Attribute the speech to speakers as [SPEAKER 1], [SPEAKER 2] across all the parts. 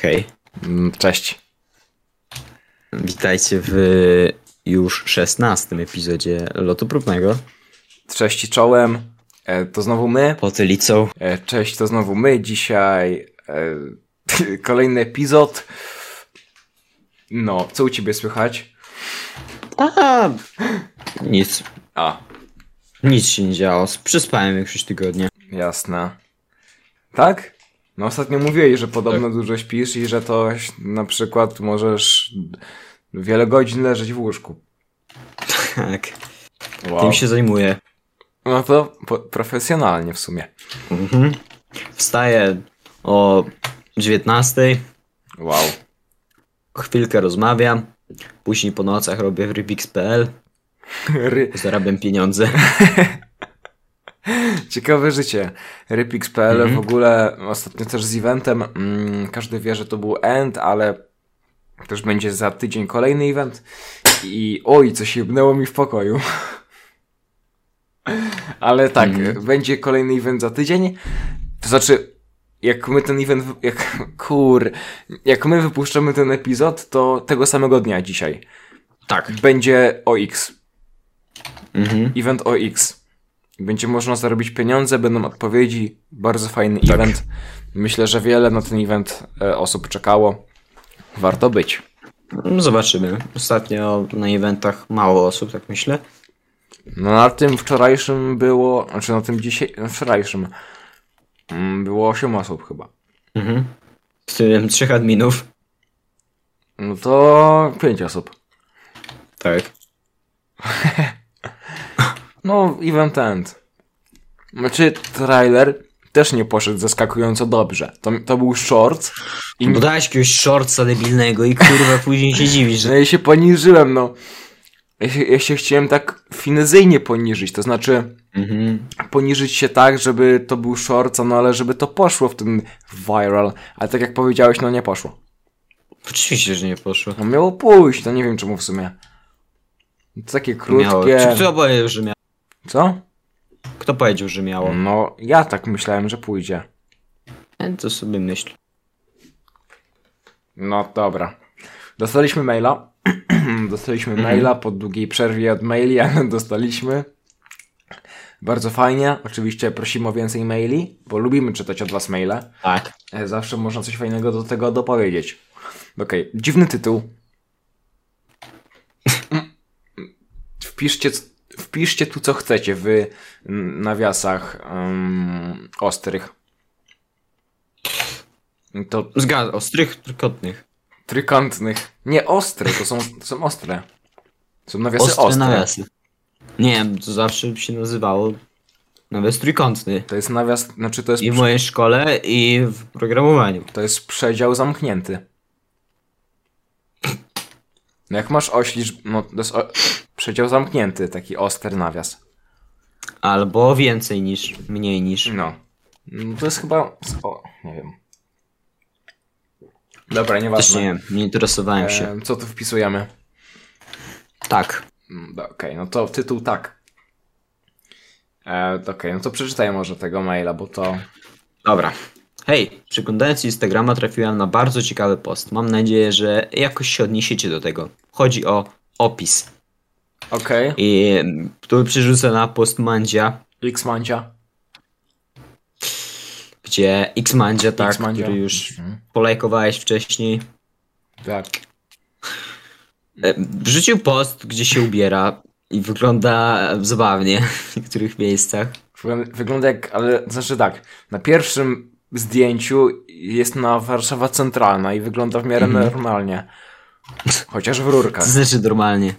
[SPEAKER 1] Hej,
[SPEAKER 2] Mm, Cześć.
[SPEAKER 1] witajcie w już szesnastym epizodzie lotu próbnego.
[SPEAKER 2] Cześć czołem. E, to znowu my.
[SPEAKER 1] Potylicą.
[SPEAKER 2] E, cześć, to znowu my. Dzisiaj e, kolejny epizod. No, co u ciebie słychać?
[SPEAKER 1] A, nic,
[SPEAKER 2] A,
[SPEAKER 1] nic się nie działo. Przyspałem większość tygodnia.
[SPEAKER 2] jasne. Tak? No ostatnio mówiłeś, że podobno dużo śpisz i że to ś- na przykład możesz wiele godzin leżeć w łóżku.
[SPEAKER 1] Tak,
[SPEAKER 2] Wow.
[SPEAKER 1] tym się zajmuję.
[SPEAKER 2] No to po- profesjonalnie w sumie.
[SPEAKER 1] Wstaję o 19,
[SPEAKER 2] Wow.
[SPEAKER 1] chwilkę rozmawiam, później po nocach robię w rybix.pl,
[SPEAKER 2] Ry-
[SPEAKER 1] zarabiam pieniądze.
[SPEAKER 2] Ciekawe życie. Rypix.pl w ogóle ostatnio też z eventem. Mm, każdy wie, że to był end, ale też będzie za tydzień kolejny event. I oj, coś jebnęło mi w pokoju. ale tak,
[SPEAKER 1] Mhm.
[SPEAKER 2] będzie kolejny event za tydzień. To znaczy, jak my ten event, wy- jak kur, jak my wypuszczamy ten epizod, to tego samego dnia dzisiaj
[SPEAKER 1] Tak.
[SPEAKER 2] będzie OX
[SPEAKER 1] Mhm.
[SPEAKER 2] event OX. Będzie można zarobić pieniądze, będą odpowiedzi. Bardzo fajny
[SPEAKER 1] Tak.
[SPEAKER 2] event. Myślę, że wiele na ten event e, osób czekało. Warto być.
[SPEAKER 1] No Zobaczymy. Ostatnio na eventach mało osób, tak myślę.
[SPEAKER 2] No na tym wczorajszym było, znaczy na tym dzisiaj, na wczorajszym mm, było 8 osób chyba.
[SPEAKER 1] Mhm. W tym trzech adminów.
[SPEAKER 2] No to 5 osób.
[SPEAKER 1] Tak.
[SPEAKER 2] No, event end. Znaczy, trailer też nie poszedł zaskakująco dobrze. To, to był short i
[SPEAKER 1] Bo dałeś jakiegoś shortsa debilnego i kurwa później się dziwisz,
[SPEAKER 2] No
[SPEAKER 1] że...
[SPEAKER 2] ja się poniżyłem, no. Ja się, ja się chciałem tak finezyjnie poniżyć, to znaczy
[SPEAKER 1] Mhm.
[SPEAKER 2] poniżyć się tak, żeby to był short, no ale żeby to poszło w ten viral, ale tak jak powiedziałeś, no nie poszło.
[SPEAKER 1] Oczywiście, że nie poszło.
[SPEAKER 2] No miało pójść, no nie wiem czemu w sumie. To takie
[SPEAKER 1] Miało. Czy
[SPEAKER 2] krótkie...
[SPEAKER 1] kto powiedział, że miało?
[SPEAKER 2] Co?
[SPEAKER 1] Kto powiedział, że miało?
[SPEAKER 2] No, ja tak myślałem, że pójdzie.
[SPEAKER 1] E, To sobie myśl.
[SPEAKER 2] No dobra. Dostaliśmy maila. dostaliśmy maila po długiej przerwie od maili, ale dostaliśmy. Bardzo fajnie. Oczywiście prosimy o więcej maili, bo lubimy czytać od Was maile.
[SPEAKER 1] Tak.
[SPEAKER 2] E, Zawsze można coś fajnego do tego dopowiedzieć. Okej, dziwny tytuł. Wpiszcie, c- wpiszcie tu co chcecie w mm, nawiasach mm, ostrych. To
[SPEAKER 1] Zgadza, ostrych, trykotnych.
[SPEAKER 2] Trójkątnych. Nie, ostre, to są, to są ostre. Są nawiasy ostre.
[SPEAKER 1] Ostre, nawiasy. Nie wiem, to zawsze się nazywało nawias trójkątny.
[SPEAKER 2] To jest nawias, znaczy to jest,
[SPEAKER 1] I w mojej szkole, i w programowaniu.
[SPEAKER 2] to jest przedział zamknięty. No jak masz oślicz, no to jest o, przedział zamknięty, taki ostry nawias.
[SPEAKER 1] Albo więcej niż, mniej niż.
[SPEAKER 2] No. No To jest chyba, o, nie wiem. Dobra,
[SPEAKER 1] Też nie
[SPEAKER 2] nieważne.
[SPEAKER 1] wiem, nie interesowałem się.
[SPEAKER 2] E, co tu wpisujemy?
[SPEAKER 1] Tak.
[SPEAKER 2] Mm, do- Okej, no to tytuł tak. E, Okej, no to przeczytaj może tego maila, bo to...
[SPEAKER 1] Dobra. Hej, przeglądając Instagrama trafiłem na bardzo ciekawy post. Mam nadzieję, że jakoś się odniesiecie do tego. Chodzi o opis,
[SPEAKER 2] Okej.
[SPEAKER 1] i, który przerzucę na post Mandzia,
[SPEAKER 2] X-Mancia.
[SPEAKER 1] gdzie X-Mandzia, tak,
[SPEAKER 2] X-Mandzia.
[SPEAKER 1] który już
[SPEAKER 2] Mhm.
[SPEAKER 1] polajkowałeś wcześniej,
[SPEAKER 2] Tak.
[SPEAKER 1] e, wrzucił post, gdzie się ubiera i wygląda zabawnie w niektórych miejscach.
[SPEAKER 2] Wygląda- Wygląda jak, ale znaczy tak, na pierwszym zdjęciu jest na Warszawa Centralna i wygląda w miarę normalnie. Chociaż w
[SPEAKER 1] To
[SPEAKER 2] rurkach.
[SPEAKER 1] znaczy normalnie.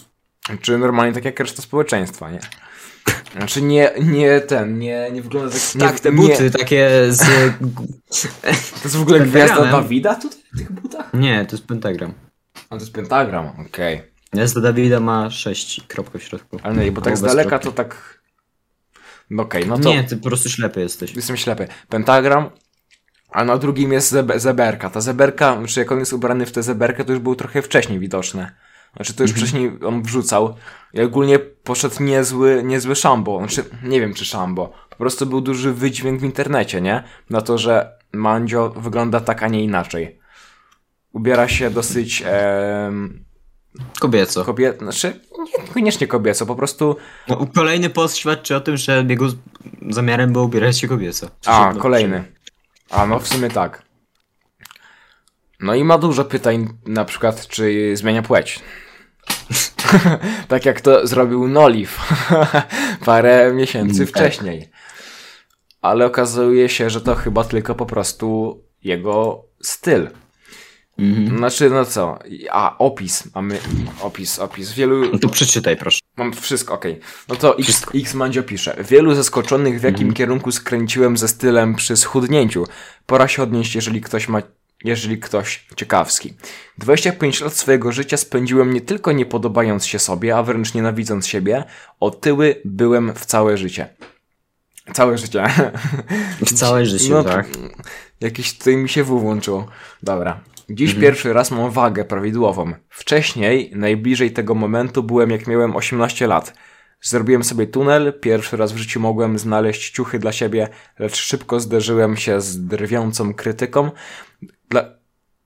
[SPEAKER 2] Czy normalnie tak jak reszta społeczeństwa, nie? Znaczy nie, nie ten, nie, nie wygląda tak... Nie,
[SPEAKER 1] tak, te
[SPEAKER 2] nie-
[SPEAKER 1] buty takie z...
[SPEAKER 2] to jest w ogóle
[SPEAKER 1] z
[SPEAKER 2] gwiazda
[SPEAKER 1] pentagram.
[SPEAKER 2] Dawida tutaj w tych butach?
[SPEAKER 1] Nie, to jest pentagram.
[SPEAKER 2] A to jest pentagram, okej.
[SPEAKER 1] Gwiazda Dawida ma 6 kropek w środku.
[SPEAKER 2] Ale nie, bo tak z
[SPEAKER 1] Albo bez
[SPEAKER 2] daleka
[SPEAKER 1] kropki.
[SPEAKER 2] to tak... No okej, no to...
[SPEAKER 1] Nie, ty po prostu ślepy jesteś.
[SPEAKER 2] Jestem ślepy. Pentagram, a na drugim jest zebe zeberka. Ta zeberka, czy jak on jest ubrany w tę zeberkę, to już był trochę wcześniej widoczne. Znaczy to już wcześniej on wrzucał. I ogólnie poszedł niezły, niezły szambo. Znaczy, nie wiem czy szambo. Po prostu był duży wydźwięk w internecie, nie? Na to, że Mandzio wygląda tak, a nie inaczej. ubiera się dosyć em,
[SPEAKER 1] Kobieco.
[SPEAKER 2] kobiet, znaczy niekoniecznie kobieco, po prostu
[SPEAKER 1] No, kolejny post świadczy o tym, że jego z- zamiarem było ubierać się kobieco.
[SPEAKER 2] A,
[SPEAKER 1] Przyszedł-
[SPEAKER 2] kolejny. A, no w sumie tak. No i ma dużo pytań, na przykład, czy zmienia płeć. tak jak to zrobił Noliv parę miesięcy
[SPEAKER 1] Mm, tak.
[SPEAKER 2] wcześniej. Ale okazuje się, że to chyba tylko po prostu jego styl.
[SPEAKER 1] Mhm.
[SPEAKER 2] Znaczy, no co? A, opis. Mamy opis, opis. Wielu
[SPEAKER 1] No to przeczytaj, proszę.
[SPEAKER 2] Mam wszystko, okej. No to X,
[SPEAKER 1] Wszystko.
[SPEAKER 2] X Mandzio pisze. Wielu zaskoczonych, w jakim kierunku skręciłem ze stylem przy schudnięciu. Pora się odnieść, jeżeli ktoś ma, jeżeli ktoś ciekawski. 25 lat swojego życia spędziłem nie tylko nie podobając się sobie, a wręcz nienawidząc siebie. Otyły byłem w całe życie. Całe życie.
[SPEAKER 1] W całe życie,
[SPEAKER 2] No,
[SPEAKER 1] tak?
[SPEAKER 2] Jakiś tutaj mi się W włączyło. Dobra. Dziś pierwszy raz mam wagę prawidłową. Wcześniej, najbliżej tego momentu, byłem jak miałem 18 lat. Zrobiłem sobie tunel, pierwszy raz w życiu mogłem znaleźć ciuchy dla siebie, lecz szybko zderzyłem się z drwiącą krytyką, dla,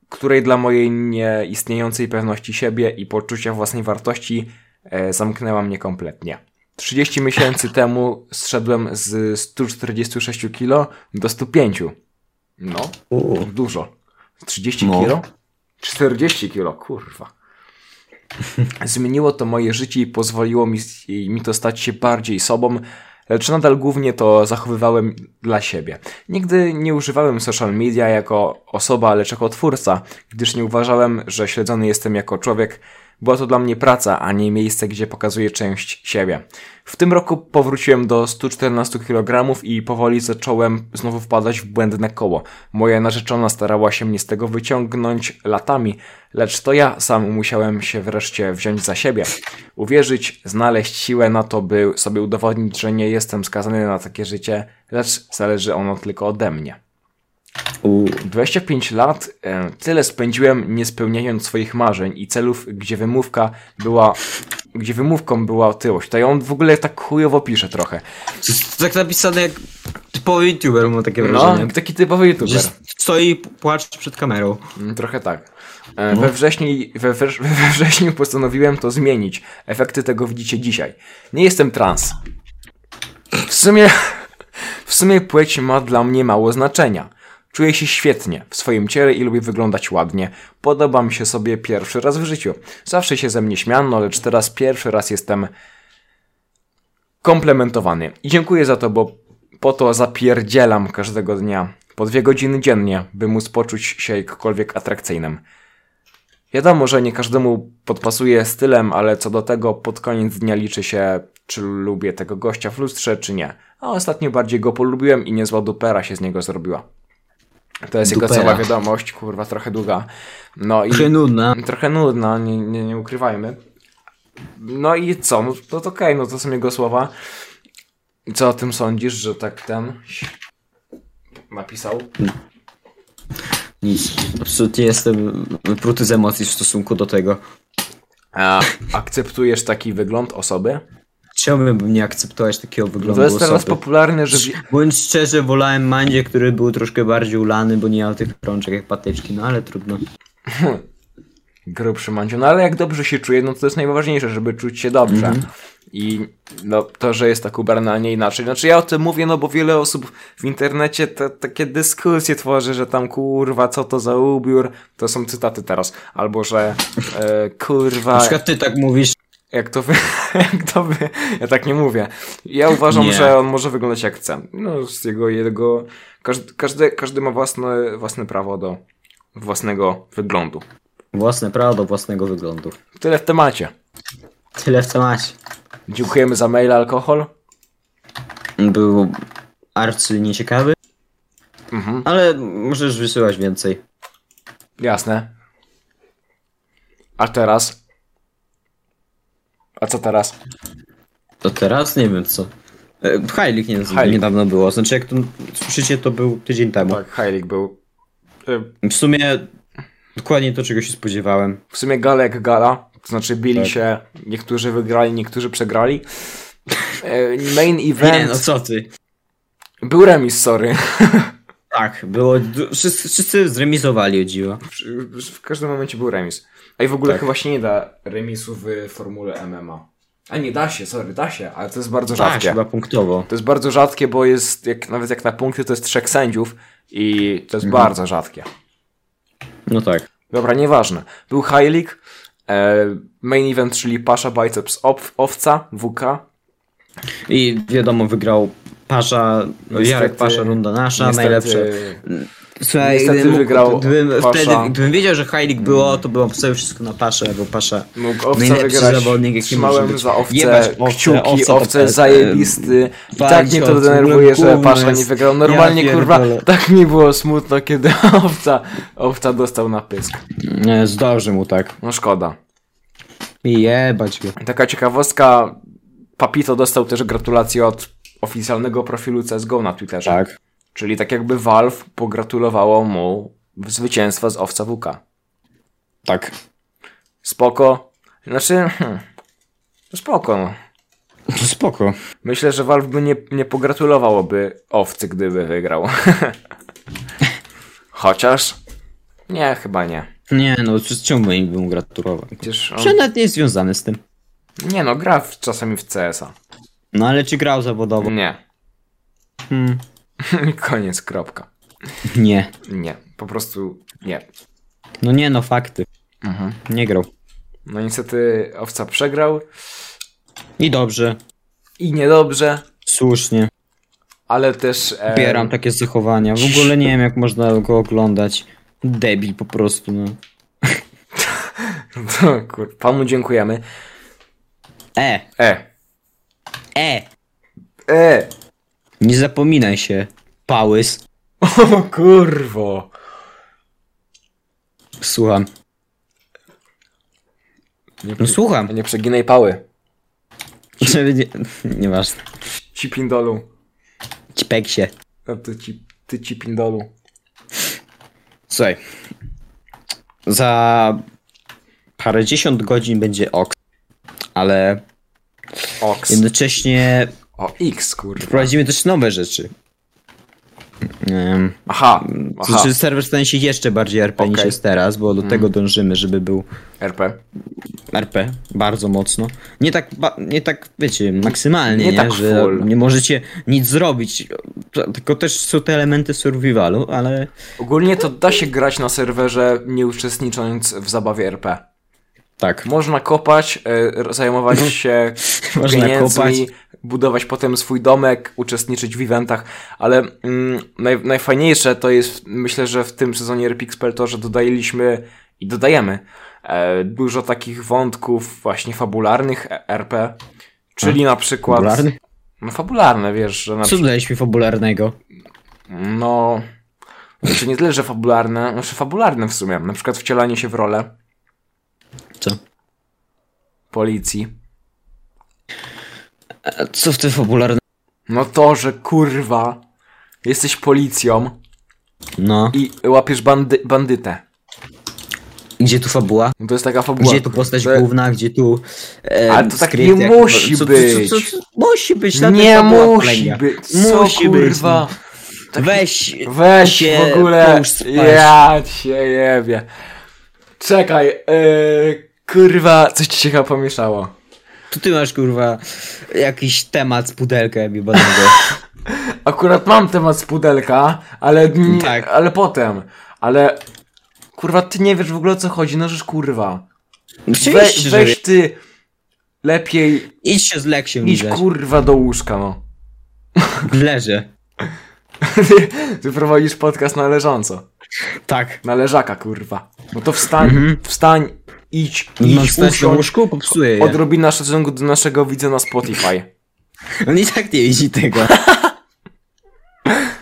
[SPEAKER 2] której dla mojej nieistniejącej pewności siebie i poczucia własnej wartości e, zamknęła mnie kompletnie. 30 miesięcy temu zszedłem z 146 kg do 105. No,
[SPEAKER 1] U.
[SPEAKER 2] dużo. 30
[SPEAKER 1] No.
[SPEAKER 2] kilo? 40 kilo, kurwa. Zmieniło to moje życie i pozwoliło mi, mi to stać się bardziej sobą, lecz nadal głównie to zachowywałem dla siebie. Nigdy nie używałem social media jako osoba, lecz jako twórca, gdyż nie uważałem, że śledzony jestem jako człowiek. Była to dla mnie praca, a nie miejsce, gdzie pokazuję część siebie. W tym roku powróciłem do 114 kg i powoli zacząłem znowu wpadać w błędne koło. Moja narzeczona starała się mnie z tego wyciągnąć latami, lecz to ja sam musiałem się wreszcie wziąć za siebie. Uwierzyć, znaleźć siłę na to, by sobie udowodnić, że nie jestem skazany na takie życie, lecz zależy ono tylko ode mnie.
[SPEAKER 1] U.
[SPEAKER 2] 25 lat e, tyle spędziłem nie spełniając swoich marzeń i celów, gdzie wymówka była, gdzie wymówką była otyłość. To ja on w ogóle tak chujowo pisze trochę.
[SPEAKER 1] To jest tak napisane jak typowy youtuber, mam takie
[SPEAKER 2] No,
[SPEAKER 1] wrażenie.
[SPEAKER 2] taki typowy
[SPEAKER 1] Że
[SPEAKER 2] youtuber.
[SPEAKER 1] stoi i płacz przed kamerą.
[SPEAKER 2] Mm, Trochę tak. E, We wrześniu, we, wrz- we wrześniu postanowiłem to zmienić. Efekty tego widzicie dzisiaj. Nie jestem trans. W sumie, w sumie płeć ma dla mnie mało znaczenia. Czuję się świetnie w swoim ciele i lubię wyglądać ładnie. Podoba mi się sobie pierwszy raz w życiu. Zawsze się ze mnie śmiano, lecz teraz pierwszy raz jestem komplementowany. I dziękuję za to, bo po to zapierdzielam każdego dnia. Po dwie godziny dziennie, by móc poczuć się jakkolwiek atrakcyjnym. Wiadomo, że nie każdemu podpasuje stylem, ale co do tego pod koniec dnia liczy się, czy lubię tego gościa w lustrze, czy nie. A ostatnio bardziej go polubiłem i niezła dupera się z niego zrobiła. To jest jego
[SPEAKER 1] Dupera.
[SPEAKER 2] cała wiadomość, kurwa, trochę długa. No i...
[SPEAKER 1] Trochę nudna.
[SPEAKER 2] Trochę nudna, nie, nie, nie ukrywajmy. No i co? No to, to okej, no to są jego słowa. I Co o tym sądzisz, że tak ten napisał?
[SPEAKER 1] Nic. Absolutnie jestem wypruty z emocji w stosunku do tego.
[SPEAKER 2] A akceptujesz taki wygląd osoby?
[SPEAKER 1] Chciałbym nie akceptować takiego
[SPEAKER 2] No
[SPEAKER 1] wyglądu
[SPEAKER 2] to jest teraz
[SPEAKER 1] osoby.
[SPEAKER 2] popularne, że...
[SPEAKER 1] Bądź szczerze, wolałem Mandzie, który był troszkę bardziej ulany, bo nie miał tych rączek jak patyczki, no ale trudno.
[SPEAKER 2] grubszy mandziu. No ale jak dobrze się czuje, no to jest najważniejsze, żeby czuć się dobrze.
[SPEAKER 1] Mhm.
[SPEAKER 2] I no, to, że jest tak ubrana, a nie inaczej. Znaczy ja o tym mówię, no bo wiele osób w internecie te, takie dyskusje tworzy, że tam kurwa, co to za ubiór, to są cytaty teraz. Albo, że e, kurwa,
[SPEAKER 1] Na przykład ty tak mówisz,
[SPEAKER 2] jak to wy... jak to wy... Ja tak nie mówię. Ja uważam,
[SPEAKER 1] Nie.
[SPEAKER 2] że on może wyglądać jak chce. No, z jego, jego... Każdy, każdy, każdy ma własne, własne prawo do własnego wyglądu.
[SPEAKER 1] własne prawo do własnego wyglądu.
[SPEAKER 2] Tyle w temacie.
[SPEAKER 1] Tyle w temacie.
[SPEAKER 2] Dziękujemy za maila alkohol.
[SPEAKER 1] Był arcy nieciekawy,
[SPEAKER 2] Mhm.
[SPEAKER 1] ale możesz wysyłać więcej.
[SPEAKER 2] Jasne. A teraz? A co teraz?
[SPEAKER 1] To teraz nie wiem co. E, Hajlik nie,
[SPEAKER 2] Hajlik.
[SPEAKER 1] niedawno było, znaczy jak to słyszycie to był tydzień temu.
[SPEAKER 2] Tak, Heilig był. Y,
[SPEAKER 1] W sumie dokładnie to czego się spodziewałem.
[SPEAKER 2] W sumie gala jak gala, to znaczy bili
[SPEAKER 1] Tak.
[SPEAKER 2] się, niektórzy wygrali, niektórzy przegrali. Y, Main
[SPEAKER 1] Nie, no
[SPEAKER 2] event.
[SPEAKER 1] co ty.
[SPEAKER 2] Był remis, sorry.
[SPEAKER 1] Tak, było. du- Wszyscy, wszyscy zremisowali o dziwo.
[SPEAKER 2] Przy- W każdym momencie był remis. A i w ogóle
[SPEAKER 1] Tak.
[SPEAKER 2] chyba się nie da remisu w formule MMA. A nie, da się, sorry, da się, ale to jest bardzo
[SPEAKER 1] Tak,
[SPEAKER 2] rzadkie.
[SPEAKER 1] chyba punktowo.
[SPEAKER 2] To jest bardzo rzadkie, bo jest, jak, nawet jak na punkty, to jest trzech sędziów i to jest bardzo rzadkie.
[SPEAKER 1] No tak.
[SPEAKER 2] Dobra, nieważne. Był Heilig, e, main event, czyli Pasza, Biceps, Op, Owca, WK.
[SPEAKER 1] I wiadomo, wygrał Pasza,
[SPEAKER 2] Niestety-
[SPEAKER 1] No Jarek Pasza, runda nasza,
[SPEAKER 2] Niestety-
[SPEAKER 1] najlepsze. Słuchaj,
[SPEAKER 2] niestety
[SPEAKER 1] gdybym, mógł-
[SPEAKER 2] wygrał
[SPEAKER 1] gdybym,
[SPEAKER 2] Pasza.
[SPEAKER 1] wtedy, gdybym wiedział, że Heilig było, to bym obstawił wszystko na Paszę, bo Pasza
[SPEAKER 2] Mógł owca
[SPEAKER 1] najlepszy
[SPEAKER 2] wygrać,
[SPEAKER 1] zawodnik, jaki może
[SPEAKER 2] trzymałem
[SPEAKER 1] być.
[SPEAKER 2] za owce
[SPEAKER 1] Jebać owce,
[SPEAKER 2] kciuki,
[SPEAKER 1] owca
[SPEAKER 2] owce,
[SPEAKER 1] to e, pes,
[SPEAKER 2] zajebisty. I
[SPEAKER 1] walić
[SPEAKER 2] tak mnie to
[SPEAKER 1] owce,
[SPEAKER 2] denerwuje, że
[SPEAKER 1] kurwa,
[SPEAKER 2] Pasza nie
[SPEAKER 1] jest-
[SPEAKER 2] wygrał. Normalnie,
[SPEAKER 1] Ja
[SPEAKER 2] kurwa,
[SPEAKER 1] pierdolę.
[SPEAKER 2] tak mi było smutno, kiedy owca, owca dostał na pysk.
[SPEAKER 1] Nie, zdarzy mu tak.
[SPEAKER 2] No szkoda.
[SPEAKER 1] Jebać go.
[SPEAKER 2] Taka ciekawostka, Papito dostał też gratulacje od oficjalnego profilu CSGO na Twitterze.
[SPEAKER 1] Tak.
[SPEAKER 2] Czyli tak jakby Valve pogratulowało mu zwycięstwa z owca WK.
[SPEAKER 1] Tak.
[SPEAKER 2] Spoko. Znaczy, hmm, spoko no.
[SPEAKER 1] To spoko.
[SPEAKER 2] Myślę, że Valve by nie, nie pogratulowałoby owcy, gdyby wygrał. Chociaż. Nie, chyba nie.
[SPEAKER 1] Nie no, przecież czemu im bym gratulował?
[SPEAKER 2] Przecież on,
[SPEAKER 1] Przecież nawet nie jest związany z tym.
[SPEAKER 2] nie no, gra w, czasami w CS-a.
[SPEAKER 1] No ale czy grał zawodowo?
[SPEAKER 2] Nie.
[SPEAKER 1] Hmm.
[SPEAKER 2] Koniec, kropka.
[SPEAKER 1] Nie.
[SPEAKER 2] Nie, po prostu nie.
[SPEAKER 1] No nie no, fakty.
[SPEAKER 2] Mhm.
[SPEAKER 1] Nie grał.
[SPEAKER 2] No niestety owca przegrał
[SPEAKER 1] I dobrze.
[SPEAKER 2] i niedobrze,
[SPEAKER 1] Słusznie.
[SPEAKER 2] ale też. e, em,
[SPEAKER 1] Popieram takie zachowania. W ogóle nie wiem, jak można go oglądać. Debil po prostu, no.
[SPEAKER 2] To, kur, panu dziękujemy.
[SPEAKER 1] E!
[SPEAKER 2] E.
[SPEAKER 1] E!
[SPEAKER 2] E!
[SPEAKER 1] Nie zapominaj się, pałys.
[SPEAKER 2] O kurwo!
[SPEAKER 1] Słucham.
[SPEAKER 2] Nie,
[SPEAKER 1] No słucham.
[SPEAKER 2] nie przeginaj pały.
[SPEAKER 1] Żeby nie... Nieważne.
[SPEAKER 2] Ci pindolu.
[SPEAKER 1] Cipek się.
[SPEAKER 2] A ty ci, ty ci pindolu.
[SPEAKER 1] Słuchaj. Za parędziesiąt godzin będzie ok. Ale
[SPEAKER 2] Ox.
[SPEAKER 1] jednocześnie
[SPEAKER 2] O X, kurwa.
[SPEAKER 1] wprowadzimy też nowe rzeczy. Um,
[SPEAKER 2] Aha, aha.
[SPEAKER 1] czy serwer stanie się jeszcze bardziej RP niż
[SPEAKER 2] Okej. Mm.
[SPEAKER 1] jest teraz, bo do tego dążymy, żeby był
[SPEAKER 2] RP.
[SPEAKER 1] RP bardzo mocno. Nie tak, ba- nie tak wiecie, maksymalnie,
[SPEAKER 2] Nie
[SPEAKER 1] nie,
[SPEAKER 2] tak
[SPEAKER 1] że
[SPEAKER 2] full.
[SPEAKER 1] nie możecie nic zrobić. To- Tylko też są te elementy survivalu, ale
[SPEAKER 2] Ogólnie to da się grać na serwerze, nie uczestnicząc w zabawie RP.
[SPEAKER 1] tak.
[SPEAKER 2] Można kopać, e, zajmować się
[SPEAKER 1] Można
[SPEAKER 2] pieniędzmi, budować potem swój domek, uczestniczyć w eventach, ale mm, naj, najfajniejsze to jest, myślę, że w tym sezonie RPXPL to, że dodaliśmy i dodajemy e, dużo takich wątków właśnie fabularnych e, RP, czyli na przykład...
[SPEAKER 1] Fabularny?
[SPEAKER 2] No fabularne, wiesz, że na
[SPEAKER 1] Co daliśmy fabularnego?
[SPEAKER 2] No. Znaczy nie tyle, że fabularne, znaczy fabularne w sumie. Na przykład wcielanie się w rolę
[SPEAKER 1] Co?
[SPEAKER 2] policji.
[SPEAKER 1] A E, Co w tym fabularnym?
[SPEAKER 2] No to, że kurwa, jesteś policją
[SPEAKER 1] No.
[SPEAKER 2] i łapiesz bandy, bandytę.
[SPEAKER 1] Gdzie tu fabuła?
[SPEAKER 2] No to jest taka fabuła.
[SPEAKER 1] Gdzie tu postać
[SPEAKER 2] To-
[SPEAKER 1] główna? Gdzie tu. E,
[SPEAKER 2] Ale to tak
[SPEAKER 1] skrypt,
[SPEAKER 2] nie
[SPEAKER 1] jak-
[SPEAKER 2] musi
[SPEAKER 1] co- co-
[SPEAKER 2] być.
[SPEAKER 1] Co, co, co, musi być. na tym
[SPEAKER 2] Nie
[SPEAKER 1] fabuła
[SPEAKER 2] musi
[SPEAKER 1] polega.
[SPEAKER 2] być. Co,
[SPEAKER 1] musi
[SPEAKER 2] kurwa?
[SPEAKER 1] być. no. Weź.
[SPEAKER 2] Weź
[SPEAKER 1] się
[SPEAKER 2] w ogóle.
[SPEAKER 1] połóż spać.
[SPEAKER 2] Ja cię jebie. Czekaj, yy, kurwa, coś ci się chyba pomieszało.
[SPEAKER 1] Tu ty masz kurwa jakiś temat z pudelka jebanego.
[SPEAKER 2] Akurat mam temat z pudelka, ale, nie,
[SPEAKER 1] Tak.
[SPEAKER 2] ale potem. Ale kurwa, ty nie wiesz w ogóle o co chodzi, no żeż kurwa. We,
[SPEAKER 1] Oczywiście, że
[SPEAKER 2] weź ty lepiej
[SPEAKER 1] Idź się z Leksiem
[SPEAKER 2] idź
[SPEAKER 1] widać.
[SPEAKER 2] kurwa do łóżka, no.
[SPEAKER 1] Leżę.
[SPEAKER 2] Ty, ty prowadzisz podcast na leżąco.
[SPEAKER 1] Tak.
[SPEAKER 2] Na leżaka, kurwa. No to wstań,
[SPEAKER 1] Mhm.
[SPEAKER 2] wstań, idź,
[SPEAKER 1] Mam
[SPEAKER 2] idź,
[SPEAKER 1] wstać na
[SPEAKER 2] usiądź.
[SPEAKER 1] łóżku? Popsuję no je.
[SPEAKER 2] Odrobina szacunku do naszego widza na Spotify.
[SPEAKER 1] On i tak nie widzi tego.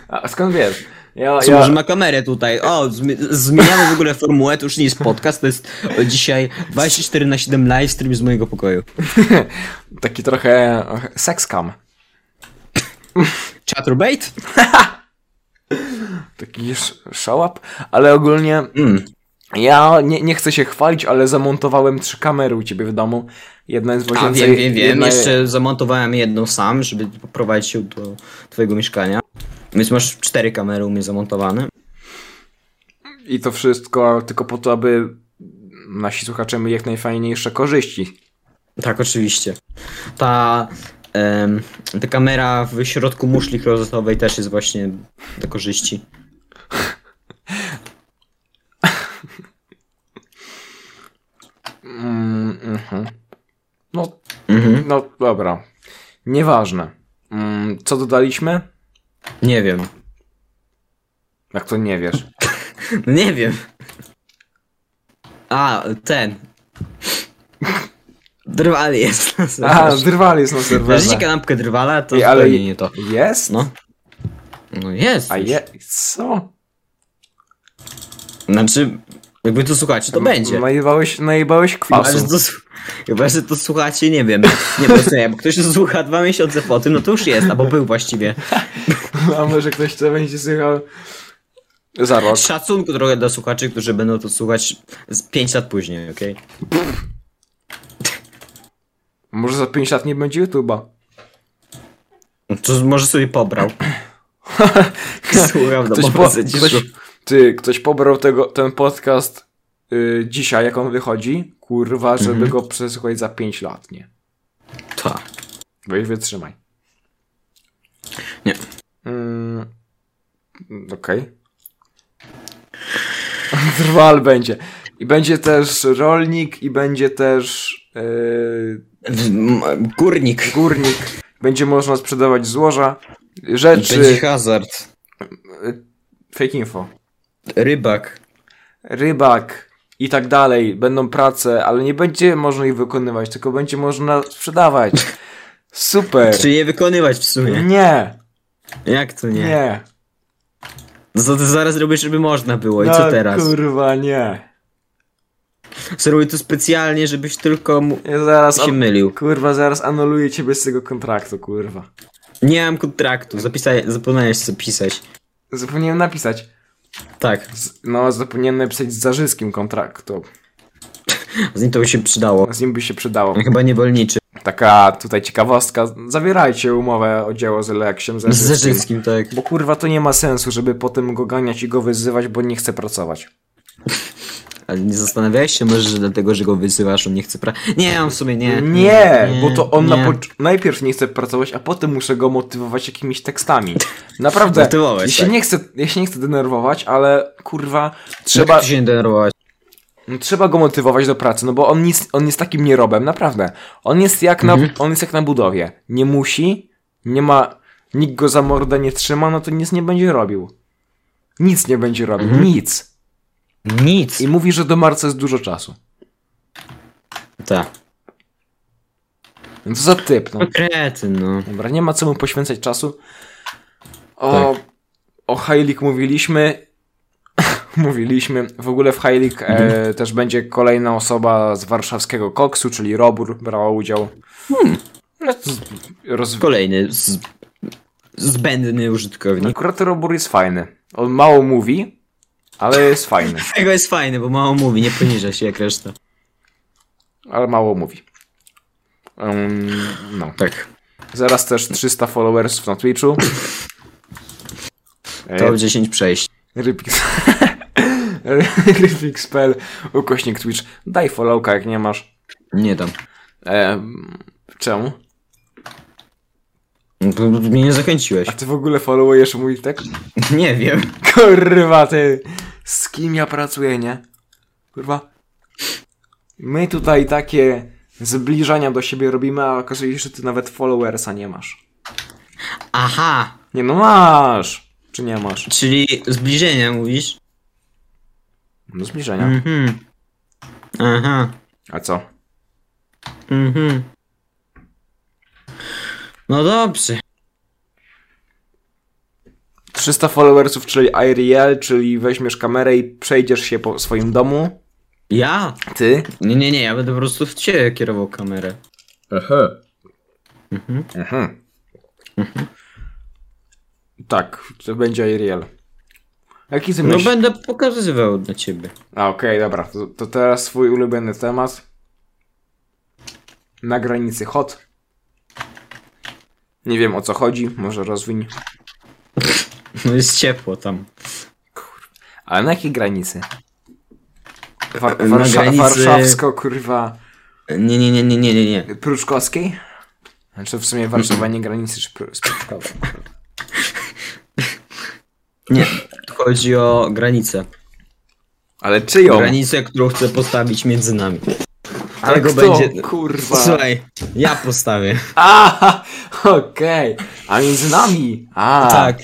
[SPEAKER 2] A skąd wiesz? Ja,
[SPEAKER 1] Co,
[SPEAKER 2] ja,
[SPEAKER 1] może ma kamerę tutaj. O, zmi- zmieniamy w ogóle formułę, to już nie jest podcast, to jest dzisiaj 24 na 7 live stream z mojego pokoju.
[SPEAKER 2] taki trochę sekskam.
[SPEAKER 1] Chaturbate?
[SPEAKER 2] Taki sz- szałap, ale ogólnie
[SPEAKER 1] Mm.
[SPEAKER 2] Ja nie, nie chcę się chwalić, ale zamontowałem trzy kamery u ciebie w domu. Jedna jest w
[SPEAKER 1] A,
[SPEAKER 2] łazience.
[SPEAKER 1] wiem, wiem, wiem.
[SPEAKER 2] Jedna...
[SPEAKER 1] Jeszcze zamontowałem jedną sam, żeby poprowadzić się do twojego mieszkania. Więc masz cztery kamery u mnie zamontowane.
[SPEAKER 2] I to wszystko tylko po to, aby nasi słuchacze mieli jak najfajniejsze korzyści.
[SPEAKER 1] Tak, oczywiście. Ta, em, ta kamera w środku muszli klozetowej też jest właśnie do korzyści.
[SPEAKER 2] Mm, mhm. No,
[SPEAKER 1] Mhm.
[SPEAKER 2] no dobra. Nieważne. Mm, co dodaliśmy?
[SPEAKER 1] Nie wiem.
[SPEAKER 2] Jak to nie wiesz.
[SPEAKER 1] No nie wiem. A, ten. Drwal jest na
[SPEAKER 2] A,
[SPEAKER 1] serwerze.
[SPEAKER 2] drwali jest na serwerze.
[SPEAKER 1] Znaleźliście kanapkę drwala, to
[SPEAKER 2] Ej, ale-
[SPEAKER 1] ale... zupełnie nie to.
[SPEAKER 2] Jest?
[SPEAKER 1] No. No jest.
[SPEAKER 2] A
[SPEAKER 1] już.
[SPEAKER 2] je... Co?
[SPEAKER 1] Znaczy, jakby to słuchacie, to będzie.
[SPEAKER 2] Najebałeś, najebałeś
[SPEAKER 1] Chyba że,
[SPEAKER 2] kwasu.
[SPEAKER 1] to, s- chyba, że to słuchacie, nie wiem. Nie, bo co, jak ktoś to słucha dwa miesiące po tym, no to już jest, albo był właściwie.
[SPEAKER 2] A może ktoś to będzie słuchał za rok.
[SPEAKER 1] Szacunku trochę dla słuchaczy, którzy będą to słuchać z 5 lat później, okej?
[SPEAKER 2] Może za 5 lat nie będzie YouTube'a.
[SPEAKER 1] To może sobie pobrał. Słucham,
[SPEAKER 2] Ktoś,
[SPEAKER 1] no
[SPEAKER 2] po,
[SPEAKER 1] po,
[SPEAKER 2] ktoś, ty, ktoś pobrał tego, ten podcast y, dzisiaj, jak on wychodzi, kurwa, żeby go przesłuchać za 5 lat, nie?
[SPEAKER 1] Ta.
[SPEAKER 2] Weź wytrzymaj.
[SPEAKER 1] Nie.
[SPEAKER 2] Mm, Okej. Drwal będzie. I będzie też rolnik, i będzie też yy,
[SPEAKER 1] M- Górnik.
[SPEAKER 2] górnik. Będzie można sprzedawać złoża, rzeczy,
[SPEAKER 1] Będzie hazard.
[SPEAKER 2] fake info,
[SPEAKER 1] Rybak.
[SPEAKER 2] rybak i tak dalej. Będą prace, ale nie będzie można ich wykonywać, tylko będzie można sprzedawać. Super.
[SPEAKER 1] Czy je wykonywać w sumie?
[SPEAKER 2] Nie,
[SPEAKER 1] Jak to nie?
[SPEAKER 2] nie.
[SPEAKER 1] No Co ty zaraz robisz, żeby można było? I co
[SPEAKER 2] No,
[SPEAKER 1] teraz?
[SPEAKER 2] Kurwa, nie.
[SPEAKER 1] Zrobię to specjalnie, żebyś tylko mu...
[SPEAKER 2] Ja zaraz.
[SPEAKER 1] się
[SPEAKER 2] An-
[SPEAKER 1] mylił.
[SPEAKER 2] kurwa, zaraz anuluję ciebie z tego kontraktu, kurwa.
[SPEAKER 1] Nie mam kontraktu. Zapisaj, zapomniałeś zapisać.
[SPEAKER 2] Zapomniałem napisać.
[SPEAKER 1] Tak,
[SPEAKER 2] Z- no, zapomniałem napisać z Zarzyskim kontraktu.
[SPEAKER 1] z nim to by się przydało.
[SPEAKER 2] Z nim by się przydało.
[SPEAKER 1] Chyba niewolniczy.
[SPEAKER 2] Taka tutaj ciekawostka. Zawierajcie umowę o dzieło z Leksiem
[SPEAKER 1] Z
[SPEAKER 2] Zarzyskim.
[SPEAKER 1] Zerzyskim, tak.
[SPEAKER 2] Bo kurwa to nie ma sensu, żeby potem go ganiać i go wyzywać, bo nie chce pracować.
[SPEAKER 1] Ale nie zastanawiałeś się może, że dlatego, że go wysyłasz, on nie chce pra... Nie, on w sumie nie.
[SPEAKER 2] Nie, bo to on na pocz- najpierw nie chce pracować, a potem muszę go motywować jakimiś tekstami. Naprawdę,
[SPEAKER 1] Motywować,
[SPEAKER 2] ja, się
[SPEAKER 1] tak.
[SPEAKER 2] nie chcę, ja się nie chcę denerwować, ale kurwa,
[SPEAKER 1] Trzeba...
[SPEAKER 2] trzeba,
[SPEAKER 1] Jak ty się nie denerwować?
[SPEAKER 2] No, Trzeba go motywować do pracy, no bo on, nic, on jest takim nierobem, naprawdę. On jest, jak na, on jest jak na budowie. Nie musi, nie ma, nikt go za mordę nie trzyma, no to nic nie będzie robił. Nic nie będzie robił,
[SPEAKER 1] Mhm.
[SPEAKER 2] nic.
[SPEAKER 1] Nic.
[SPEAKER 2] I mówi, że do marca jest dużo czasu.
[SPEAKER 1] Tak.
[SPEAKER 2] No to za typ, no.
[SPEAKER 1] No kretyn, no.
[SPEAKER 2] Dobra, nie ma co mu poświęcać czasu. O, o Heilig mówiliśmy. mówiliśmy. W ogóle w Heilig e, też będzie kolejna osoba z warszawskiego koksu, czyli Robur, brała udział. No to z- Roz...
[SPEAKER 1] Kolejny z... zbędny użytkownik.
[SPEAKER 2] Akurat Robur jest fajny. On mało mówi, ale jest fajny.
[SPEAKER 1] Tego jest fajny, bo mało mówi, nie poniża się jak reszta.
[SPEAKER 2] Ale mało mówi. Ym, no.
[SPEAKER 1] Tak.
[SPEAKER 2] Zaraz też 300 followersów na Twitchu.
[SPEAKER 1] To
[SPEAKER 2] E.
[SPEAKER 1] 10 przejść.
[SPEAKER 2] Rybix. Rybix.pl ukośnik Twitch. Daj followka, jak nie masz.
[SPEAKER 1] Nie dam.
[SPEAKER 2] E, czemu?
[SPEAKER 1] No to Mnie nie zachęciłeś.
[SPEAKER 2] A ty w ogóle followujesz mój tekst?
[SPEAKER 1] Nie wiem.
[SPEAKER 2] Kurwa ty! Z kim ja pracuję, nie? Kurwa. My tutaj takie zbliżania do siebie robimy, a okazuje się, że ty nawet followersa nie masz.
[SPEAKER 1] Aha,
[SPEAKER 2] Nie no masz! Czy nie masz?
[SPEAKER 1] czyli zbliżenia mówisz?
[SPEAKER 2] No zbliżenia.
[SPEAKER 1] Mhm. Aha.
[SPEAKER 2] A co?
[SPEAKER 1] Mhm. No dobrze.
[SPEAKER 2] 300 followersów, czyli IRL, czyli weźmiesz kamerę i przejdziesz się po swoim domu.
[SPEAKER 1] Ja?
[SPEAKER 2] Ty?
[SPEAKER 1] Nie, nie, nie, ja będę po prostu w ciebie kierował kamerę.
[SPEAKER 2] Aha.
[SPEAKER 1] Mhm.
[SPEAKER 2] Mhm. Tak, to będzie Ariel. Jaki ty
[SPEAKER 1] No
[SPEAKER 2] myśl...
[SPEAKER 1] będę pokazywał dla ciebie.
[SPEAKER 2] A, okej, dobra. To, to teraz swój ulubiony temat. Na granicy hot. Nie wiem o co chodzi, może rozwiń.
[SPEAKER 1] No jest ciepło tam.
[SPEAKER 2] Ale na jakiej granicy? Wa-
[SPEAKER 1] Na
[SPEAKER 2] warsza-
[SPEAKER 1] granicy-
[SPEAKER 2] Warszawsko, kurwa,
[SPEAKER 1] Nie, nie, nie, nie, nie, nie, nie.
[SPEAKER 2] pruczkowskiej? Znaczy w sumie Warszawa nie granicy czy Pru- z Pruczkową.
[SPEAKER 1] Nie. Tu Chodzi o granicę.
[SPEAKER 2] Ale czyją?
[SPEAKER 1] Granicę, którą chcę postawić między nami.
[SPEAKER 2] Ale
[SPEAKER 1] Tego
[SPEAKER 2] kto?
[SPEAKER 1] będzie.
[SPEAKER 2] Kurwa.
[SPEAKER 1] Słuchaj, ja postawię.
[SPEAKER 2] A, okej. A między nami. A.
[SPEAKER 1] Tak.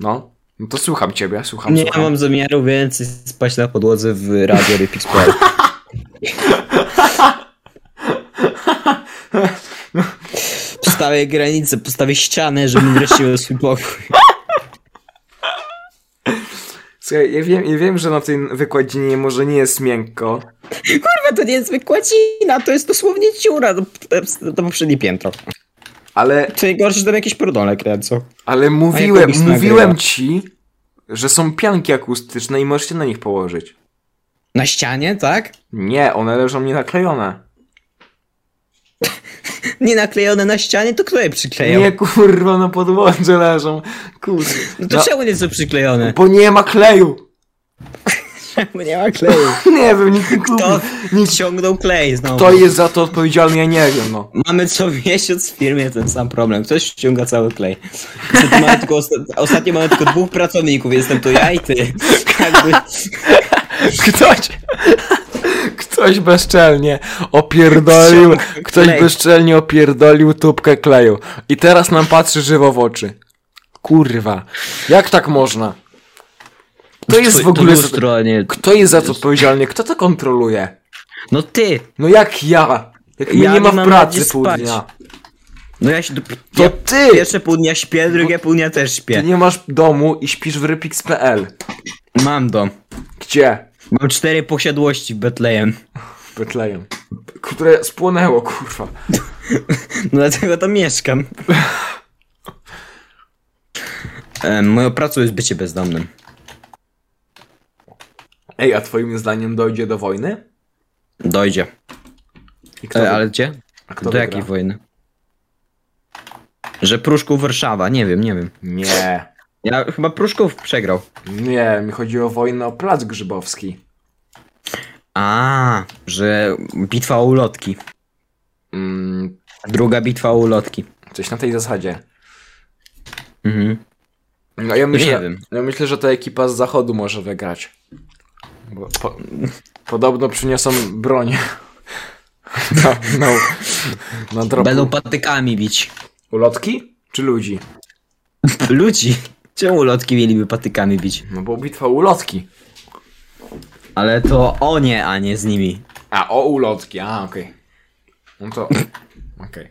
[SPEAKER 2] No. No to słucham ciebie, słucham,
[SPEAKER 1] Nie
[SPEAKER 2] słucham.
[SPEAKER 1] mam zamiaru więcej spać na podłodze w Radio Rypix.pl. Postawię granicę, postawię ścianę, żebym wreszcie miał swój pokój.
[SPEAKER 2] Słuchaj, ja wiem, ja wiem, że na tej wykładzinie może nie jest miękko.
[SPEAKER 1] Kurwa, to nie jest wykładzina, to jest dosłownie ciura do, do poprzednie piętro.
[SPEAKER 2] Ale,
[SPEAKER 1] To najgorsze, że tam jakieś prodole kręcą.
[SPEAKER 2] ale
[SPEAKER 1] A jak
[SPEAKER 2] mówiłem,
[SPEAKER 1] Obis
[SPEAKER 2] mówiłem
[SPEAKER 1] nagrywa?
[SPEAKER 2] ci, że są pianki akustyczne i możesz się na nich położyć.
[SPEAKER 1] Na ścianie, tak?
[SPEAKER 2] Nie, one leżą nienaklejone.
[SPEAKER 1] Nie naklejone na ścianie, to kto je przykleją?
[SPEAKER 2] Nie, kurwa, na podłodze leżą. Kurwa.
[SPEAKER 1] No to czemu nie są przyklejone?
[SPEAKER 2] bo nie ma kleju.
[SPEAKER 1] Czemu nie ma kleju?
[SPEAKER 2] Nie wiem, nikt nie kupi.
[SPEAKER 1] To
[SPEAKER 2] Nikt...
[SPEAKER 1] ciągnął klej znowu.
[SPEAKER 2] To jest za to odpowiedzialny, ja nie wiem, no.
[SPEAKER 1] Mamy co miesiąc w firmie ten sam problem. Ktoś ściąga cały klej. Niestety mamy tylko osta- ostatnio mamy tylko dwóch pracowników. Jestem to ja i ty. Jakby...
[SPEAKER 2] Ktoś, ktoś bezczelnie opierdolił,
[SPEAKER 1] Klej.
[SPEAKER 2] ktoś bezczelnie opierdolił tubkę kleju. I teraz nam patrzy żywo w oczy. Kurwa, jak tak można? Kto jest w ogóle... za-
[SPEAKER 1] lustro, a nie...
[SPEAKER 2] Kto jest za to odpowiedzialny? Kto to kontroluje?
[SPEAKER 1] No ty!
[SPEAKER 2] No jak ja? Jak mnie
[SPEAKER 1] Ja
[SPEAKER 2] nie ma
[SPEAKER 1] nie
[SPEAKER 2] w
[SPEAKER 1] mam
[SPEAKER 2] pracy
[SPEAKER 1] nawet
[SPEAKER 2] pół
[SPEAKER 1] spać.
[SPEAKER 2] dnia.
[SPEAKER 1] No ja się... dopr-
[SPEAKER 2] To
[SPEAKER 1] ja
[SPEAKER 2] ty!
[SPEAKER 1] Pierwsze pół dnia śpię, drugie pół dnia też
[SPEAKER 2] Ty
[SPEAKER 1] śpię.
[SPEAKER 2] nie masz domu i śpisz w rypix.pl.
[SPEAKER 1] Mam dom.
[SPEAKER 2] Gdzie?
[SPEAKER 1] Mam cztery posiadłości w Betlejem.
[SPEAKER 2] W Betlejem. Które spłonęło, kurwa.
[SPEAKER 1] No dlatego tam mieszkam. E, moją pracą jest bycie bezdomnym.
[SPEAKER 2] Ej, a twoim zdaniem dojdzie do wojny?
[SPEAKER 1] Dojdzie.
[SPEAKER 2] I kto
[SPEAKER 1] E,
[SPEAKER 2] wy-
[SPEAKER 1] ale gdzie?
[SPEAKER 2] a kto
[SPEAKER 1] Do
[SPEAKER 2] wygra?
[SPEAKER 1] jakiej wojny? Że Pruszków Warszawa, nie wiem, nie wiem.
[SPEAKER 2] Nie.
[SPEAKER 1] Ja chyba Pruszków przegrał.
[SPEAKER 2] Nie, mi chodzi o wojnę o Plac Grzybowski.
[SPEAKER 1] A, że bitwa o ulotki.
[SPEAKER 2] Mm,
[SPEAKER 1] Druga bitwa o ulotki.
[SPEAKER 2] coś na tej zasadzie.
[SPEAKER 1] Mhm.
[SPEAKER 2] No ja myślę,
[SPEAKER 1] Nie wiem.
[SPEAKER 2] Ja myślę, że ta ekipa z zachodu może wygrać. Bo po, podobno przyniosą broń. na, na, na dropu.
[SPEAKER 1] Będą patykami bić.
[SPEAKER 2] Ulotki? Czy ludzi?
[SPEAKER 1] Ludzi. Czemu ulotki mieliby patykami bić?
[SPEAKER 2] No bo bitwa o ulotki.
[SPEAKER 1] Ale to o nie, a nie z nimi.
[SPEAKER 2] A, o ulotki, a, okej. No to, okej.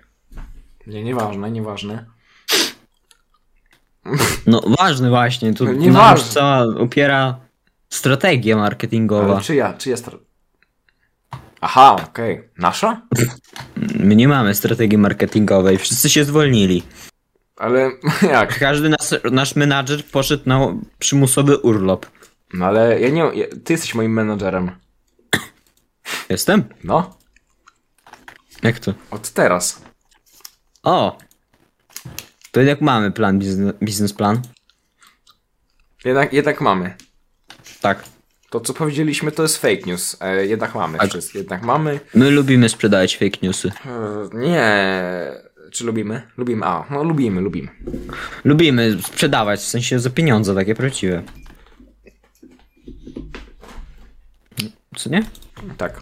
[SPEAKER 2] Nie, nieważne, nieważne.
[SPEAKER 1] No ważne właśnie, tu
[SPEAKER 2] No
[SPEAKER 1] nam
[SPEAKER 2] nie
[SPEAKER 1] już
[SPEAKER 2] ważne.
[SPEAKER 1] cała opiera strategia marketingowa.
[SPEAKER 2] Ale czyja, czyja stra... Aha, okej. Nasza?
[SPEAKER 1] My nie mamy strategii marketingowej, wszyscy się zwolnili.
[SPEAKER 2] Ale jak?
[SPEAKER 1] Każdy nas, nasz menadżer poszedł na przymusowy urlop.
[SPEAKER 2] No ale ja nie. Ja, ty jesteś moim menadżerem.
[SPEAKER 1] Jestem?
[SPEAKER 2] No?
[SPEAKER 1] Jak to?
[SPEAKER 2] Od teraz.
[SPEAKER 1] O! To jednak mamy plan, biznes, plan.
[SPEAKER 2] Jednak, jednak mamy.
[SPEAKER 1] Tak.
[SPEAKER 2] To co powiedzieliśmy to jest fake news. E, jednak mamy
[SPEAKER 1] Tak.
[SPEAKER 2] wszystko. Jednak mamy.
[SPEAKER 1] My lubimy sprzedawać fake newsy.
[SPEAKER 2] E, nie. Czy lubimy? Lubimy. A, no lubimy, lubimy.
[SPEAKER 1] Lubimy sprzedawać, w sensie za pieniądze, takie prawdziwe. Co nie?
[SPEAKER 2] Tak.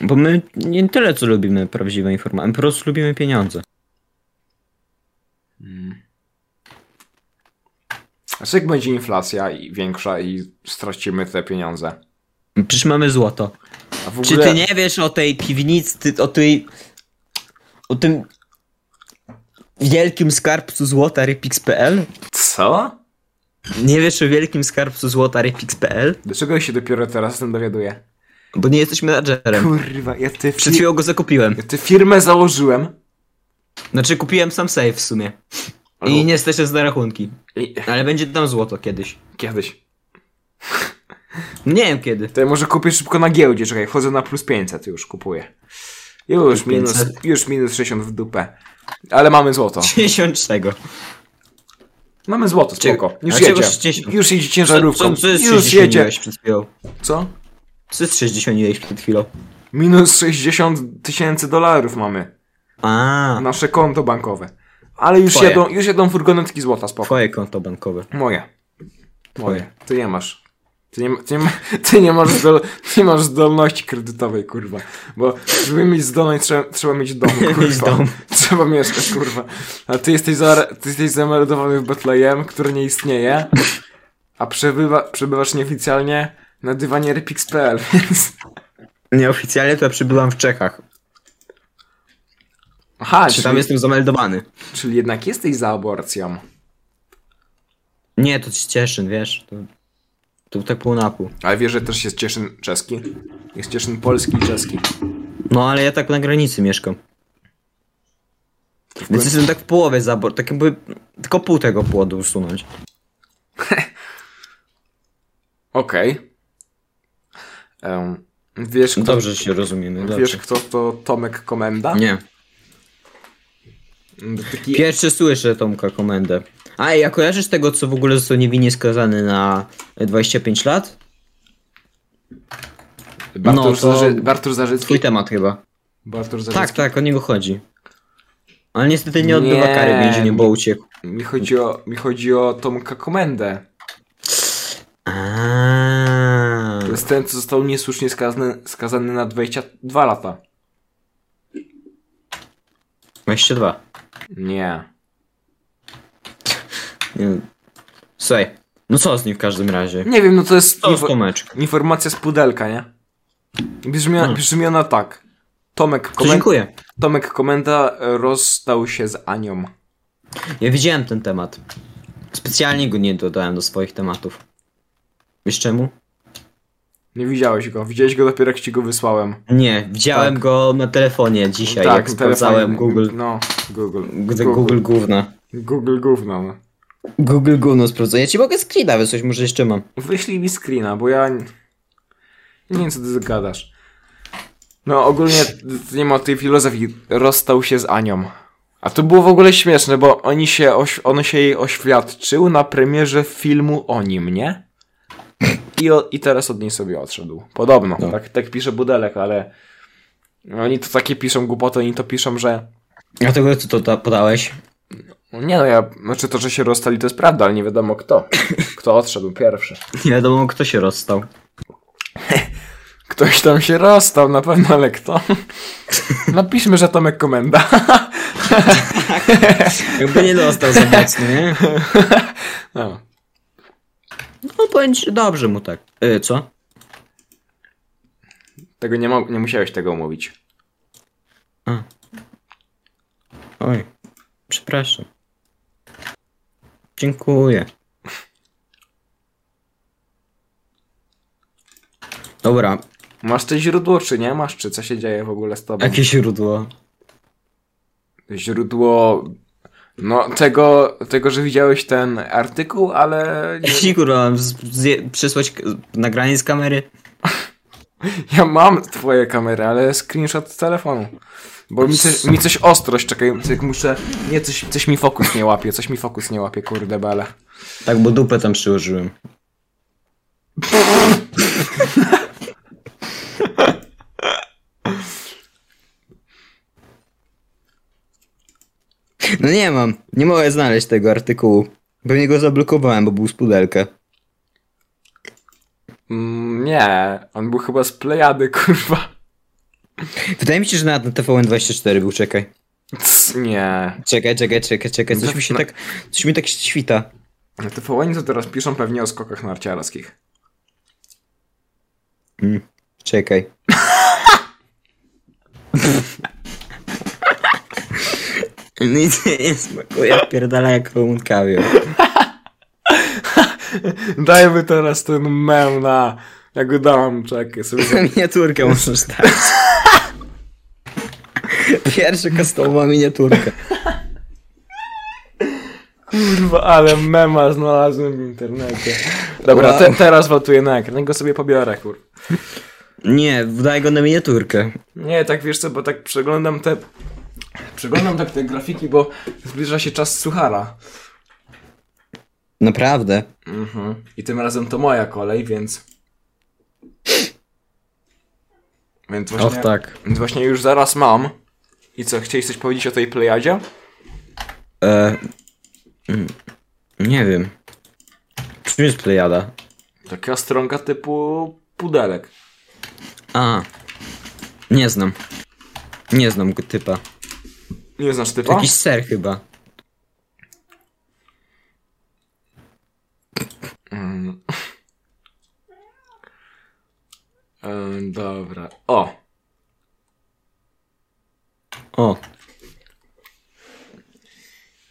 [SPEAKER 1] Bo my nie tyle co lubimy prawdziwe informacje, po prostu lubimy pieniądze.
[SPEAKER 2] Znaczy jak będzie inflacja i większa i stracimy te pieniądze.
[SPEAKER 1] Przecież mamy złoto.
[SPEAKER 2] A w
[SPEAKER 1] Czy
[SPEAKER 2] ogóle.
[SPEAKER 1] ty nie wiesz o tej piwnicy, ty, o tej... o tym... wielkim skarbcu złota Rypix.pl?
[SPEAKER 2] Co?
[SPEAKER 1] Nie wiesz o wielkim skarbcu złota Rypix.pl?
[SPEAKER 2] Dlaczego ja się dopiero teraz o tym dowiaduję?
[SPEAKER 1] Bo nie jesteś menadżerem.
[SPEAKER 2] Kurwa, ja ty
[SPEAKER 1] Przed chwilą go zakupiłem.
[SPEAKER 2] Ja tę firmę założyłem.
[SPEAKER 1] Znaczy kupiłem sam safe w sumie. I niestety jest na rachunki.
[SPEAKER 2] I-
[SPEAKER 1] Ale będzie tam złoto kiedyś.
[SPEAKER 2] Kiedyś.
[SPEAKER 1] Nie wiem kiedy.
[SPEAKER 2] To ja może kupię szybko na giełdzie, czekaj, wchodzę na plus 500, już kupuję. Już minus,
[SPEAKER 1] 500.
[SPEAKER 2] już minus 60 w dupę. Ale mamy złoto.
[SPEAKER 1] 60 czego.
[SPEAKER 2] Mamy złoto,
[SPEAKER 1] Czego-
[SPEAKER 2] spoko. Już
[SPEAKER 1] a czego
[SPEAKER 2] jedzie.
[SPEAKER 1] 60?
[SPEAKER 2] Już jedzie
[SPEAKER 1] Co,
[SPEAKER 2] ciężarówką.
[SPEAKER 1] co, co jest
[SPEAKER 2] Już jedzie.
[SPEAKER 1] 60 przed chwilą?
[SPEAKER 2] Co?
[SPEAKER 1] Co jest 60 przed chwilą?
[SPEAKER 2] Minus 60 tysięcy dolarów mamy.
[SPEAKER 1] A,
[SPEAKER 2] Nasze konto bankowe. Ale już
[SPEAKER 1] Twoje.
[SPEAKER 2] jedą, już jedą furgonetki złota, spoko.
[SPEAKER 1] twoje konto bankowe.
[SPEAKER 2] Moje. Moje.
[SPEAKER 1] Twoje.
[SPEAKER 2] Ty nie masz. Ty nie, ma- ty nie, ma- ty nie, masz, zdol, ty nie masz zdolności kredytowej, kurwa. Bo żeby mieć zdolność, trzeba, trzeba mieć dom,
[SPEAKER 1] Mieć
[SPEAKER 2] kurwa.
[SPEAKER 1] dom.
[SPEAKER 2] Trzeba mieszkać, kurwa. A ty jesteś, za, ty jesteś zameldowany w Betlejem, który nie istnieje, a przebywa, przebywasz nieoficjalnie na dywanie repix.pl, więc...
[SPEAKER 1] Nieoficjalnie to ja przybywam w Czechach.
[SPEAKER 2] Aha,
[SPEAKER 1] Czy
[SPEAKER 2] czyli,
[SPEAKER 1] tam jestem zameldowany?
[SPEAKER 2] czyli jednak jesteś za aborcją.
[SPEAKER 1] Nie, to ci Cieszyn, wiesz. To, to tak pół na pół.
[SPEAKER 2] Ale wiesz, że też jest cieszyn czeski? Jest cieszyn polski i czeski.
[SPEAKER 1] No ale ja tak na granicy mieszkam.
[SPEAKER 2] To w
[SPEAKER 1] Więc
[SPEAKER 2] końcu-
[SPEAKER 1] jestem tak w połowie zabor. Tak jakby tylko pół tego płodu usunąć.
[SPEAKER 2] Okej. Em, wiesz, kto,
[SPEAKER 1] Dobrze że się rozumiemy.
[SPEAKER 2] No, wiesz
[SPEAKER 1] Dobrze.
[SPEAKER 2] kto to Tomek Komenda?
[SPEAKER 1] Nie.
[SPEAKER 2] Taki,
[SPEAKER 1] Pierwszy słyszę Tomka komendę. A ja kojarzysz tego, co w ogóle został niewinnie skazany na 25 lat?
[SPEAKER 2] Bartosz,
[SPEAKER 1] no, to-
[SPEAKER 2] Zarzy, Bartosz Zarzycki?
[SPEAKER 1] Twój temat chyba.
[SPEAKER 2] Bartosz
[SPEAKER 1] Tak,
[SPEAKER 2] Zarzycki.
[SPEAKER 1] tak, o niego chodzi. Ale niestety nie odbywa
[SPEAKER 2] Nie.
[SPEAKER 1] kary więzienia, bo uciekł.
[SPEAKER 2] Mi chodzi o, mi chodzi o Tomka Komendę.
[SPEAKER 1] Aaaa.
[SPEAKER 2] To jest ten, co został niesłusznie skazany, skazany na 22 lata.
[SPEAKER 1] 22.
[SPEAKER 2] Nie.
[SPEAKER 1] Nie. Słuchaj, no co z nim w każdym razie?
[SPEAKER 2] Nie wiem, no to jest
[SPEAKER 1] Co z
[SPEAKER 2] info-
[SPEAKER 1] Tomeczką?
[SPEAKER 2] informacja z pudelka, nie? Brzmi,
[SPEAKER 1] Hmm.
[SPEAKER 2] brzmi ona tak. Tomek,
[SPEAKER 1] To
[SPEAKER 2] Komen-
[SPEAKER 1] dziękuję.
[SPEAKER 2] Tomek Komenda e, rozstał się z Anią.
[SPEAKER 1] Ja widziałem ten temat. Specjalnie go nie dodałem do swoich tematów. Wiesz czemu?
[SPEAKER 2] Nie widziałeś go. Widziałeś go dopiero jak ci go wysłałem.
[SPEAKER 1] Nie, widziałem
[SPEAKER 2] Tak.
[SPEAKER 1] go na telefonie dzisiaj, jak
[SPEAKER 2] z telefonem.
[SPEAKER 1] sprawdzałem Google.
[SPEAKER 2] Tak, No, Google.
[SPEAKER 1] Google, Google gówno.
[SPEAKER 2] Google gówno. no.
[SPEAKER 1] Google gówno sprawdzę. Ja ci mogę screena wysłać, może jeszcze mam.
[SPEAKER 2] Wyślij mi screena, bo ja nie nie wiem, co ty gadasz. No, ogólnie to nie ma tej filozofii. Rozstał się z Anią. A to było w ogóle śmieszne, bo oni się, oś, on się jej oświadczył na premierze filmu o nim, nie? I, o, I teraz od niej sobie odszedł. Podobno.
[SPEAKER 1] No.
[SPEAKER 2] Tak, tak pisze Budelek, ale oni to takie piszą głupoty, oni to piszą, że
[SPEAKER 1] Dlatego co to ta podałeś?
[SPEAKER 2] Nie no, ja, znaczy to, że się rozstali to jest prawda, ale nie wiadomo kto. Kto odszedł pierwszy.
[SPEAKER 1] Nie wiadomo kto się rozstał.
[SPEAKER 2] Ktoś tam się rozstał na pewno, ale kto? Napiszmy, że Tomek Komenda.
[SPEAKER 1] Jakby nie dostał za mocno, nie?
[SPEAKER 2] No.
[SPEAKER 1] No powiem ci, dobrze mu tak. E, co?
[SPEAKER 2] Tego nie, mo- nie musiałeś tego mówić.
[SPEAKER 1] Oj, przepraszam. Dziękuję. Dobra,
[SPEAKER 2] Masz te źródło, czy nie masz? Czy co się dzieje w ogóle z tobą?
[SPEAKER 1] jakie źródło?
[SPEAKER 2] Źródło... No, tego, tego, że widziałeś ten artykuł, ale...
[SPEAKER 1] Ja
[SPEAKER 2] Nie,
[SPEAKER 1] ci kurwa mam z- zje- przysłać k- nagranie z kamery?
[SPEAKER 2] ja mam twoje kamery, ale screenshot z telefonu. Bo mi, coś- mi coś ostrość, czekaj, jak muszę... Nie, coś, coś mi fokus nie łapie, coś mi fokus nie łapie, kurde bele.
[SPEAKER 1] Tak, bo dupę tam przyłożyłem. No nie mam, nie mogę znaleźć tego artykułu. Pewnie go zablokowałem, bo był z pudelka.
[SPEAKER 2] Mm, nie, on był chyba z Plejady, kurwa.
[SPEAKER 1] Wydaje mi się, że nawet na TVN24 był, czekaj.
[SPEAKER 2] Cs, nie.
[SPEAKER 1] Czekaj, czekaj, czekaj, czekaj, coś mi się tak, coś mi tak świta.
[SPEAKER 2] Na TVN to teraz piszą pewnie o skokach narciarskich.
[SPEAKER 1] Czekaj. Nic No nie, nie smakuje, pierdala jak komunkawior.
[SPEAKER 2] Dajmy teraz ten mem na... Ja go dam, czekaj sobie. go-
[SPEAKER 1] Miniaturkę możesz dać. Pierwszy customowa miniaturkę.
[SPEAKER 2] Kurwa, ale mema znalazłem w internecie. Dobra, te, teraz watuję na ekran, ja go sobie pobiorę, kur.
[SPEAKER 1] Nie, daj go na miniaturkę.
[SPEAKER 2] Nie, tak wiesz co, bo tak przeglądam te... Przeglądam tak te grafiki, bo zbliża się czas suchara.
[SPEAKER 1] Naprawdę.
[SPEAKER 2] Mhm. I tym razem to moja kolej, więc. Więc właśnie,
[SPEAKER 1] Och tak.
[SPEAKER 2] więc właśnie już zaraz mam. I co, chcieliś coś powiedzieć o tej plejadzie?
[SPEAKER 1] E, mm, nie wiem. Czym jest plejada?
[SPEAKER 2] Taka stronga typu pudelek.
[SPEAKER 1] A. Nie znam. Nie znam go typa.
[SPEAKER 2] Nie znasz typa?
[SPEAKER 1] To jakiś ser chyba.
[SPEAKER 2] Mm. Em, E, Dobra. O!
[SPEAKER 1] O,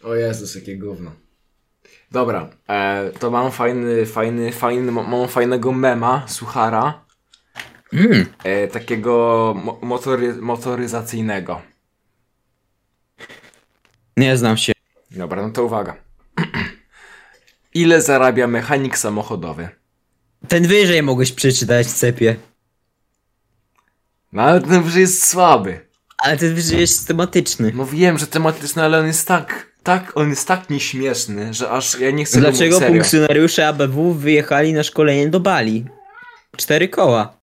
[SPEAKER 2] O Jezus, jakie gówno. Dobra, e, to mam fajny, fajny, fajny, mam- mam fajnego mema, suchara. E, takiego mo- motory, motoryzacyjnego.
[SPEAKER 1] nie znam się.
[SPEAKER 2] Dobra, no to uwaga. Ile zarabia mechanik samochodowy?
[SPEAKER 1] Ten wyżej mogłeś przeczytać cepie.
[SPEAKER 2] No ale ten wyżej jest słaby.
[SPEAKER 1] Ale ten wyżej jest tematyczny.
[SPEAKER 2] No wiem, że tematyczny, ale on jest tak, tak, on jest tak nieśmieszny, że aż ja nie chcę go mówić
[SPEAKER 1] Dlaczego
[SPEAKER 2] serio.
[SPEAKER 1] funkcjonariusze ABW wyjechali na szkolenie do Bali? Cztery koła.